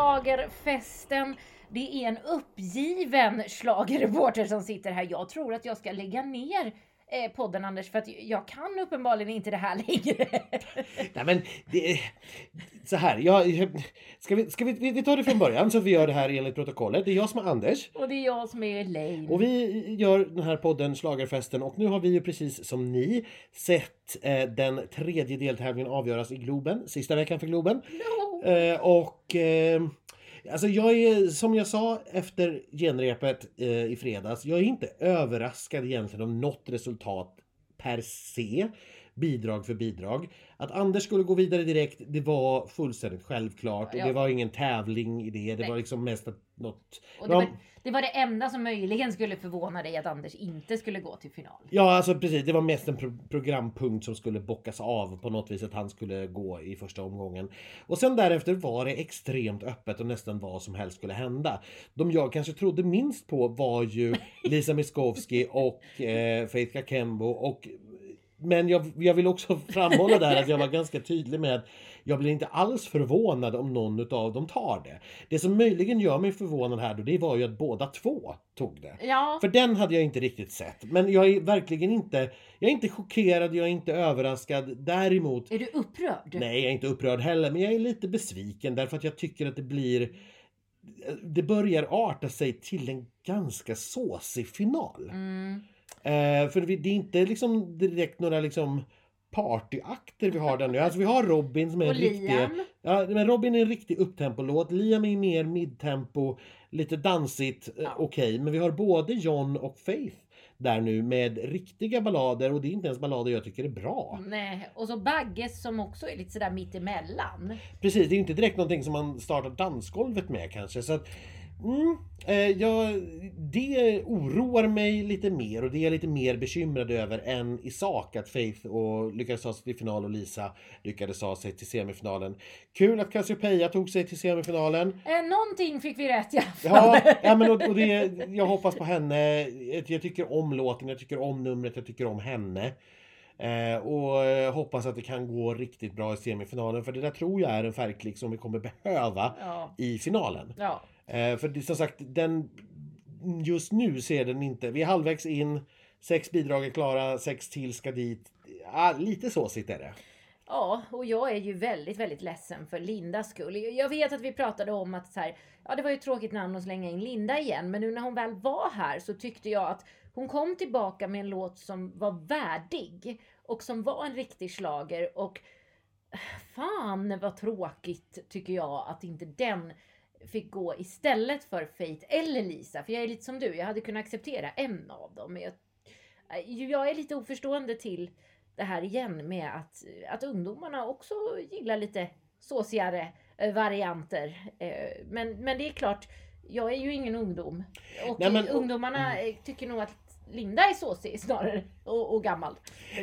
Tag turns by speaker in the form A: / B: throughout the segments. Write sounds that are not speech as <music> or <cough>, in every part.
A: Slagerfesten. Det är en uppgiven slagerreporter som sitter här. Jag tror att jag ska lägga ner eh, podden Anders för att jag kan uppenbarligen inte det här <laughs> längre.
B: Nej men, det, så här. Jag, ska vi, ska vi, vi- vi tar det från början så att vi gör det här enligt protokollet. Det är jag som är Anders.
A: Och det är jag som är Elaine.
B: Och vi gör den här podden Schlagerfesten och nu har vi ju precis som ni sett eh, den tredje deltävlingen avgöras i Globen, sista veckan för Globen.
A: No.
B: Eh, och eh, alltså jag är som jag sa efter genrepet eh, i fredags. Jag är inte överraskad egentligen om något resultat per se. Bidrag för bidrag. Att Anders skulle gå vidare direkt, det var fullständigt självklart.
A: Ja.
B: Och det var ingen tävling i det. Det
A: Nej.
B: var liksom mest att något...
A: Och det, var, det var det enda som möjligen skulle förvåna dig att Anders inte skulle gå till final.
B: Ja, alltså precis. Det var mest en pro- programpunkt som skulle bockas av på något vis att han skulle gå i första omgången. Och sen därefter var det extremt öppet och nästan vad som helst skulle hända. De jag kanske trodde minst på var ju Lisa Miskovsky och eh, Faith Kakembo och men jag, jag vill också <laughs> framhålla där att jag var ganska tydlig med att jag blir inte alls förvånad om någon av dem tar det. Det som möjligen gör mig förvånad här då, det var ju att båda två tog det.
A: Ja,
B: För den hade jag inte riktigt sett. Men jag är verkligen inte, jag är inte chockerad, jag är inte överraskad. Däremot,
A: är du upprörd?
B: nej jag är inte upprörd heller, men jag är lite besviken därför att jag tycker att det blir, eh, det börjar arta sig till en ganska såsig final.
A: Mm.
B: Eh, för vi- det är inte liksom direkt några liksom partyakter vi har där nu. Alltså vi har Robin som är
A: Och
B: en riktig...
A: Liam?
B: Ja, men Robin är en riktig upptempo-låt. Liam är mer midtempo, lite dansigt, eh,
A: Ja.
B: okej. Men vi har både John och Faith där nu med riktiga ballader och det är inte ens ballader jag tycker är bra.
A: Mm. Nej. Och så Bagges som också är lite sådär mittemellan.
B: Precis, det är ju inte direkt någonting som man startar dansgolvet med kanske. Så att, mm, eh, jag, det oroar mig lite mer och det är jag lite mer bekymrad över än i sak att Faith och lyckades ta sig till final och Lisa lyckades ta sig till semifinalen. Kul att Cassiopeia tog sig till semifinalen.
A: Eh, någonting fick vi rätt i alla <laughs> fall.
B: Ja, ja men och, och det, jag hoppas på henne. Jag- Jag tycker om låten, jag tycker om numret, jag tycker om henne. Eh, och eh, hoppas att det kan gå riktigt bra i semifinalen för det där tror jag är en färgklick som vi kommer behöva
A: Ja.
B: i finalen.
A: ja.
B: Eh, för det, som sagt, den, just nu ser den inte... Vi är halvvägs in, sex bidrag är klara, sex till ska dit. Ah, lite såsigt är det.
A: Ja, och jag är ju väldigt, väldigt ledsen för Lindas skull. Jag- Jag vet att vi pratade om att så här, ja det var ju ett tråkigt namn att slänga in Linda igen, men nu när hon väl var här så tyckte jag att hon kom tillbaka med en låt som var värdig och som var en riktig slager och fan vad tråkigt tycker jag att inte den fick gå istället för Fate eller Lisa, för jag är lite som du, jag hade kunnat acceptera en av dem, men jag, eh, jag är lite oförstående till det här igen med att, att ungdomarna också gillar lite såsigare eh, varianter. Eh, Men, men det är klart, jag är ju ingen ungdom. Och
B: Nej, men- Mm.
A: ungdomarna eh, tycker nog att Linda är såsig snarare och, och gammal.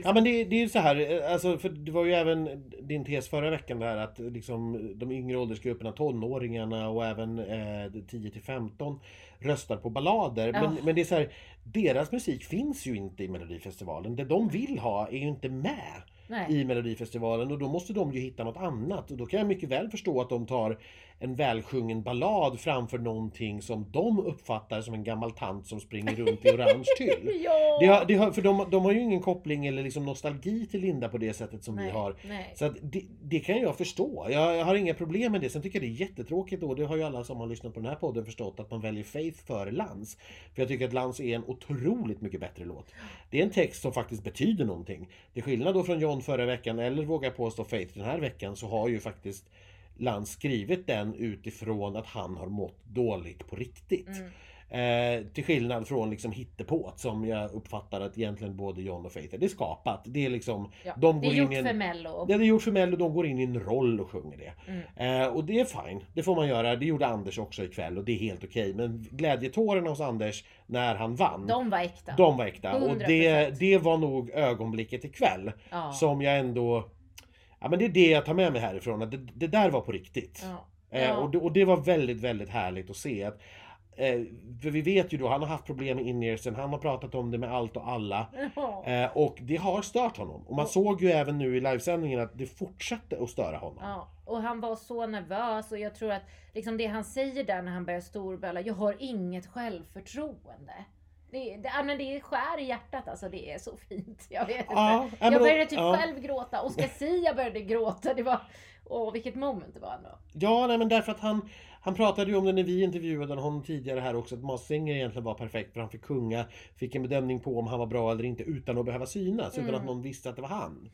B: Ja men det, det är ju så här, eh, alltså, för det var ju även din tes förra veckan där att eh, liksom, de yngre åldersgrupperna, tonåringarna och även eh, 10 till 15 röstar på ballader.
A: Ja.
B: Men, men det är så här, deras musik finns ju inte i Melodifestivalen. Det de vill ha är ju inte med
A: Nej.
B: i Melodifestivalen och då måste de ju hitta något annat. Och då kan jag mycket väl förstå att de tar en välsjungen ballad framför någonting som de uppfattar som en gammal tant som springer runt i orange tyll.
A: <laughs> Ja.
B: Det har, det har, för de, de har ju ingen koppling eller liksom nostalgi till Linda på det sättet som vi
A: nej,
B: har.
A: Nej.
B: Så att det, det kan jag förstå. Jag, jag har inga problem med det. Sen tycker jag det är jättetråkigt och det har ju alla som har lyssnat på den här podden förstått att man väljer Faith före Lans. För jag tycker att Lans är en otroligt mycket bättre låt. Det är en text som faktiskt betyder någonting. Till skillnad då från John förra veckan eller vågar jag påstå Faith den här veckan så har ju faktiskt Lans skrivit den utifrån att han har mått dåligt på riktigt.
A: Mm.
B: Eh, till skillnad från liksom hittepåt som jag uppfattar att egentligen både John och Faith är. Det är skapat. Det är liksom...
A: Ja.
B: de
A: det är
B: går
A: gjort
B: in i en-
A: för Mello.
B: Det är gjort för Mello, de går in i en roll och sjunger det.
A: Mm.
B: Eh, och det är fine, det får man göra. Det gjorde Anders också ikväll och det är helt okej. Men glädjetårarna hos Anders när han vann, de,
A: De var äkta.
B: var äkta. Och det,
A: 100%.
B: det var nog ögonblicket ikväll
A: ja.
B: som jag ändå... Ja men det är det jag tar med mig härifrån, att det, det där var på riktigt.
A: Ja.
B: Eh,
A: Ja.
B: och, det, och det var väldigt, väldigt härligt att se att Eh, för vi vet ju då, han har haft problem med in-earsen, han har pratat om det med allt och alla.
A: Ja.
B: Eh, och det har stört honom. Och man
A: Och-
B: såg ju även nu i livesändningen att det fortsatte att störa honom.
A: Ja, och han var så nervös och jag tror att liksom det han säger där när han börjar storböla, jag har inget självförtroende. Det, det, ja, men det skär i hjärtat alltså, det är så fint. Jag vet inte.
B: Ja, ja, men
A: jag
B: då-
A: började typ
B: ja.
A: själv gråta,
B: <laughs>
A: Oscar Sia började gråta. Det var, åh vilket moment det var ändå.
B: Ja, nej men därför att han, han pratade ju om det när vi intervjuade honom tidigare här också, att Mazinger egentligen var perfekt för han fick kunga, fick en bedömning på om han var bra eller inte utan att behöva synas, utan
A: Mm.
B: att någon visste att det var han.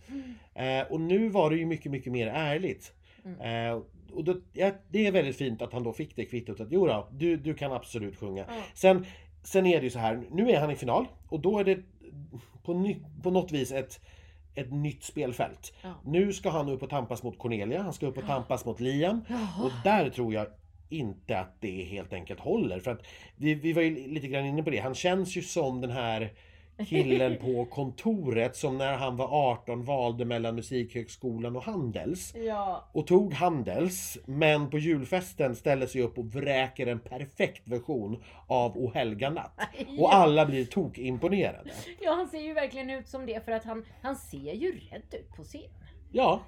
B: Eh, och nu var det ju mycket, mycket mer ärligt.
A: Mm.
B: Eh, och då, ja, det är väldigt fint att han då fick det kvittot att jodå, du, du kan absolut sjunga.
A: Ja.
B: Sen, sen är det ju så här, nu är han i final och då är det på, ny, på något vis ett, ett nytt spelfält.
A: Ja.
B: Nu ska han upp och tampas mot Cornelia, han ska upp och tampas mot Liam.
A: Jaha.
B: Och där tror jag inte att det helt enkelt håller. För att vi, vi var ju lite grann inne på det. Han känns ju som den här killen på kontoret som när han var 18 valde mellan Musikhögskolan och Handels.
A: Ja,
B: Och tog Handels, men på julfesten ställer sig upp och vräker en perfekt version av O helga natt. Och alla blir tokimponerade.
A: ja, han ser ju verkligen ut som det för att han, han ser ju rädd ut på scen.
B: Ja.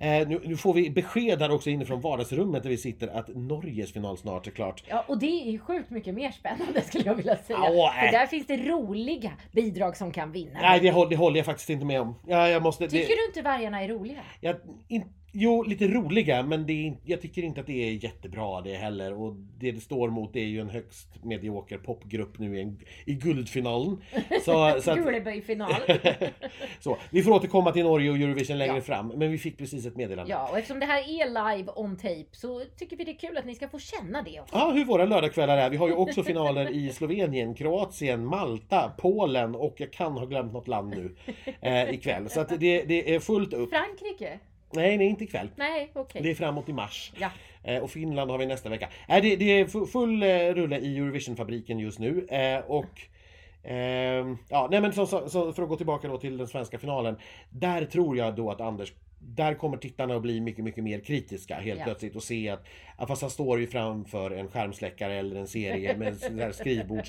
B: Eh, nu, nu får vi besked här också inifrån vardagsrummet där vi sitter att Norges final snart är klart.
A: Ja, och det är ju sjukt mycket mer spännande <laughs> skulle jag vilja säga.
B: Ja,
A: För
B: äh.
A: där finns det roliga bidrag som kan vinna.
B: Nej, det håller, det håller jag faktiskt inte med om. Ja, jag måste...
A: Tycker
B: det,
A: du inte vargarna är roliga?
B: jag, in, jo, lite roliga, men det är, in- jag tycker inte att det är jättebra det heller. Och det det står mot det är ju en högst medioker popgrupp nu i, en,
A: <laughs>
B: i guldfinalen. Så, så, att, <laughs>
A: Guleböj-final.
B: så Vi får återkomma till Norge och Eurovision längre
A: Ja.
B: fram, men vi fick precis ett meddelande. Ja.
A: ja, och eftersom det här är live on tape så tycker vi det är kul att ni ska få känna det också.
B: Ja, hur våra lördagskvällar är. Vi har ju också finaler i Slovenien, Kroatien, Malta, Polen och jag kan ha glömt något land nu eh, ikväll. Så att det, det är fullt upp.
A: Frankrike?
B: Nej, nej, inte ikväll.
A: Nej, okej.
B: Det är framåt i mars.
A: Ja.
B: Eh, Och Finland har vi nästa vecka. Nej, det, det är fu- full eh, rulle i Eurovision-fabriken just nu. Eh, Och ehm, ja, nej men så, så, så för att gå tillbaka då till den svenska finalen. Där tror jag då att Anders, där kommer tittarna att bli mycket, mycket mer kritiska helt
A: Ja.
B: plötsligt och se att, ja, fast han står ju framför en skärmsläckare eller en serie med sån här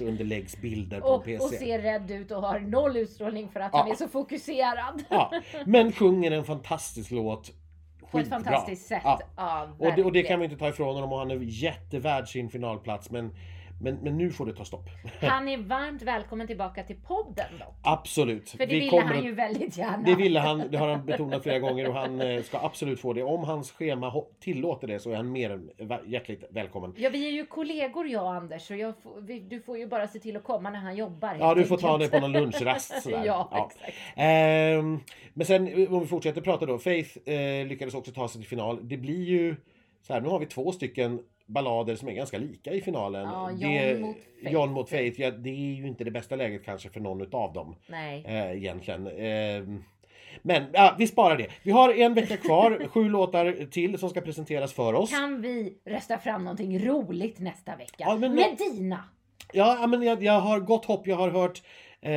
B: skrivbordsunderläggsbilder på en
A: <laughs> Och,
B: PC.
A: och ser rädd ut och har noll utstrålning för att
B: Ja.
A: han är så fokuserad.
B: Ja, men sjunger en fantastisk låt.
A: På ett
B: Skitbra.
A: fantastiskt sätt.
B: Ja.
A: Ja.
B: Och det, och det
A: verkligen.
B: kan vi inte ta ifrån honom och han är jättevärd sin finalplats men, men, men nu får det ta stopp.
A: Han är varmt välkommen tillbaka till podden då.
B: Absolut.
A: För det
B: Vi
A: ville
B: kommer
A: han
B: att-
A: ju väldigt gärna.
B: Det ville han, det har han betonat flera gånger och han eh, ska absolut få det. Om hans schema ho- tillåter det så är han mer än va- hjärtligt välkommen.
A: Ja, vi är ju kollegor jag och Anders, så jag får, vi, du får ju bara se till att komma när han jobbar.
B: Ja,
A: helt
B: du får ta det
A: enkelt.
B: på någon lunchrast
A: <laughs>
B: sådär.
A: Ja, exakt.
B: Ehm, men sen om vi fortsätter prata då. Faith eh, lyckades också ta sig till final. Det blir ju så här, nu har vi två stycken ballader som är ganska lika i finalen.
A: Ja, John
B: det,
A: mot Faith.
B: John mot Faith. Ja, det är ju inte det bästa läget kanske för någon utav dem
A: Nej.
B: eh, egentligen. Ehm, men ja, vi sparar det. Vi har en
A: <laughs>
B: vecka kvar, sju låtar till som ska presenteras för oss.
A: Kan vi rösta fram någonting roligt nästa vecka?
B: Ja, men-
A: Medina!
B: Ja, ja, men jag, jag har gott hopp. Jag har hört eh,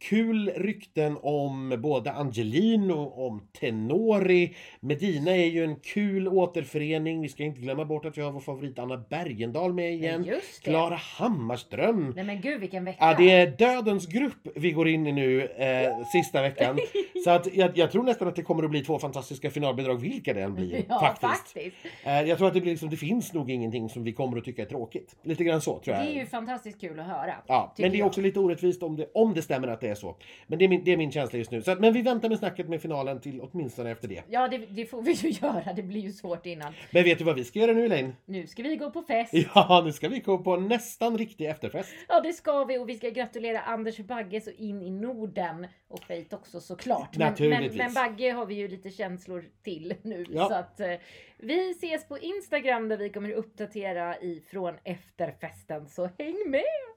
B: kul rykten om både Angelino, om Tenori. Medina är ju en kul återförening. Vi ska inte glömma bort att vi har vår favorit Anna Bergendahl med igen.
A: Just det.
B: Klara Hammarström.
A: Nej men gud vilken vecka.
B: Ja, det är dödens grupp vi går in i nu eh,
A: <laughs>
B: sista veckan. Så att jag, jag tror nästan att det kommer att bli två fantastiska finalbidrag vilka det än blir.
A: <laughs> ja, faktiskt.
B: faktiskt. Eh, jag tror att det, blir liksom, det finns nog ingenting som vi kommer att tycka är tråkigt. Lite grann så
A: Det
B: tror jag.
A: är ju fantastiskt kul att höra.
B: Ja,
A: tycker
B: men det är
A: jag.
B: också lite orättvist om det, om det stämmer att det är så. Men det är min, det är min känsla just nu. Så att, men vi väntar med snacket med finalen till åtminstone efter det.
A: Ja, det, det får vi ju <laughs> göra. Det blir ju svårt innan.
B: Men vet du vad vi ska göra nu Elaine?
A: Nu ska vi gå på fest.
B: Ja, nu ska vi gå på en nästan riktig efterfest.
A: Ja, det ska vi och vi ska gratulera Anders Bagge så in i Norden och Fate också såklart. Men, men,
B: Naturligtvis.
A: men Bagge har vi ju lite känslor till nu
B: Ja.
A: så att eh, vi ses på Instagram där vi kommer uppdatera ifrån efterfesten så häng med!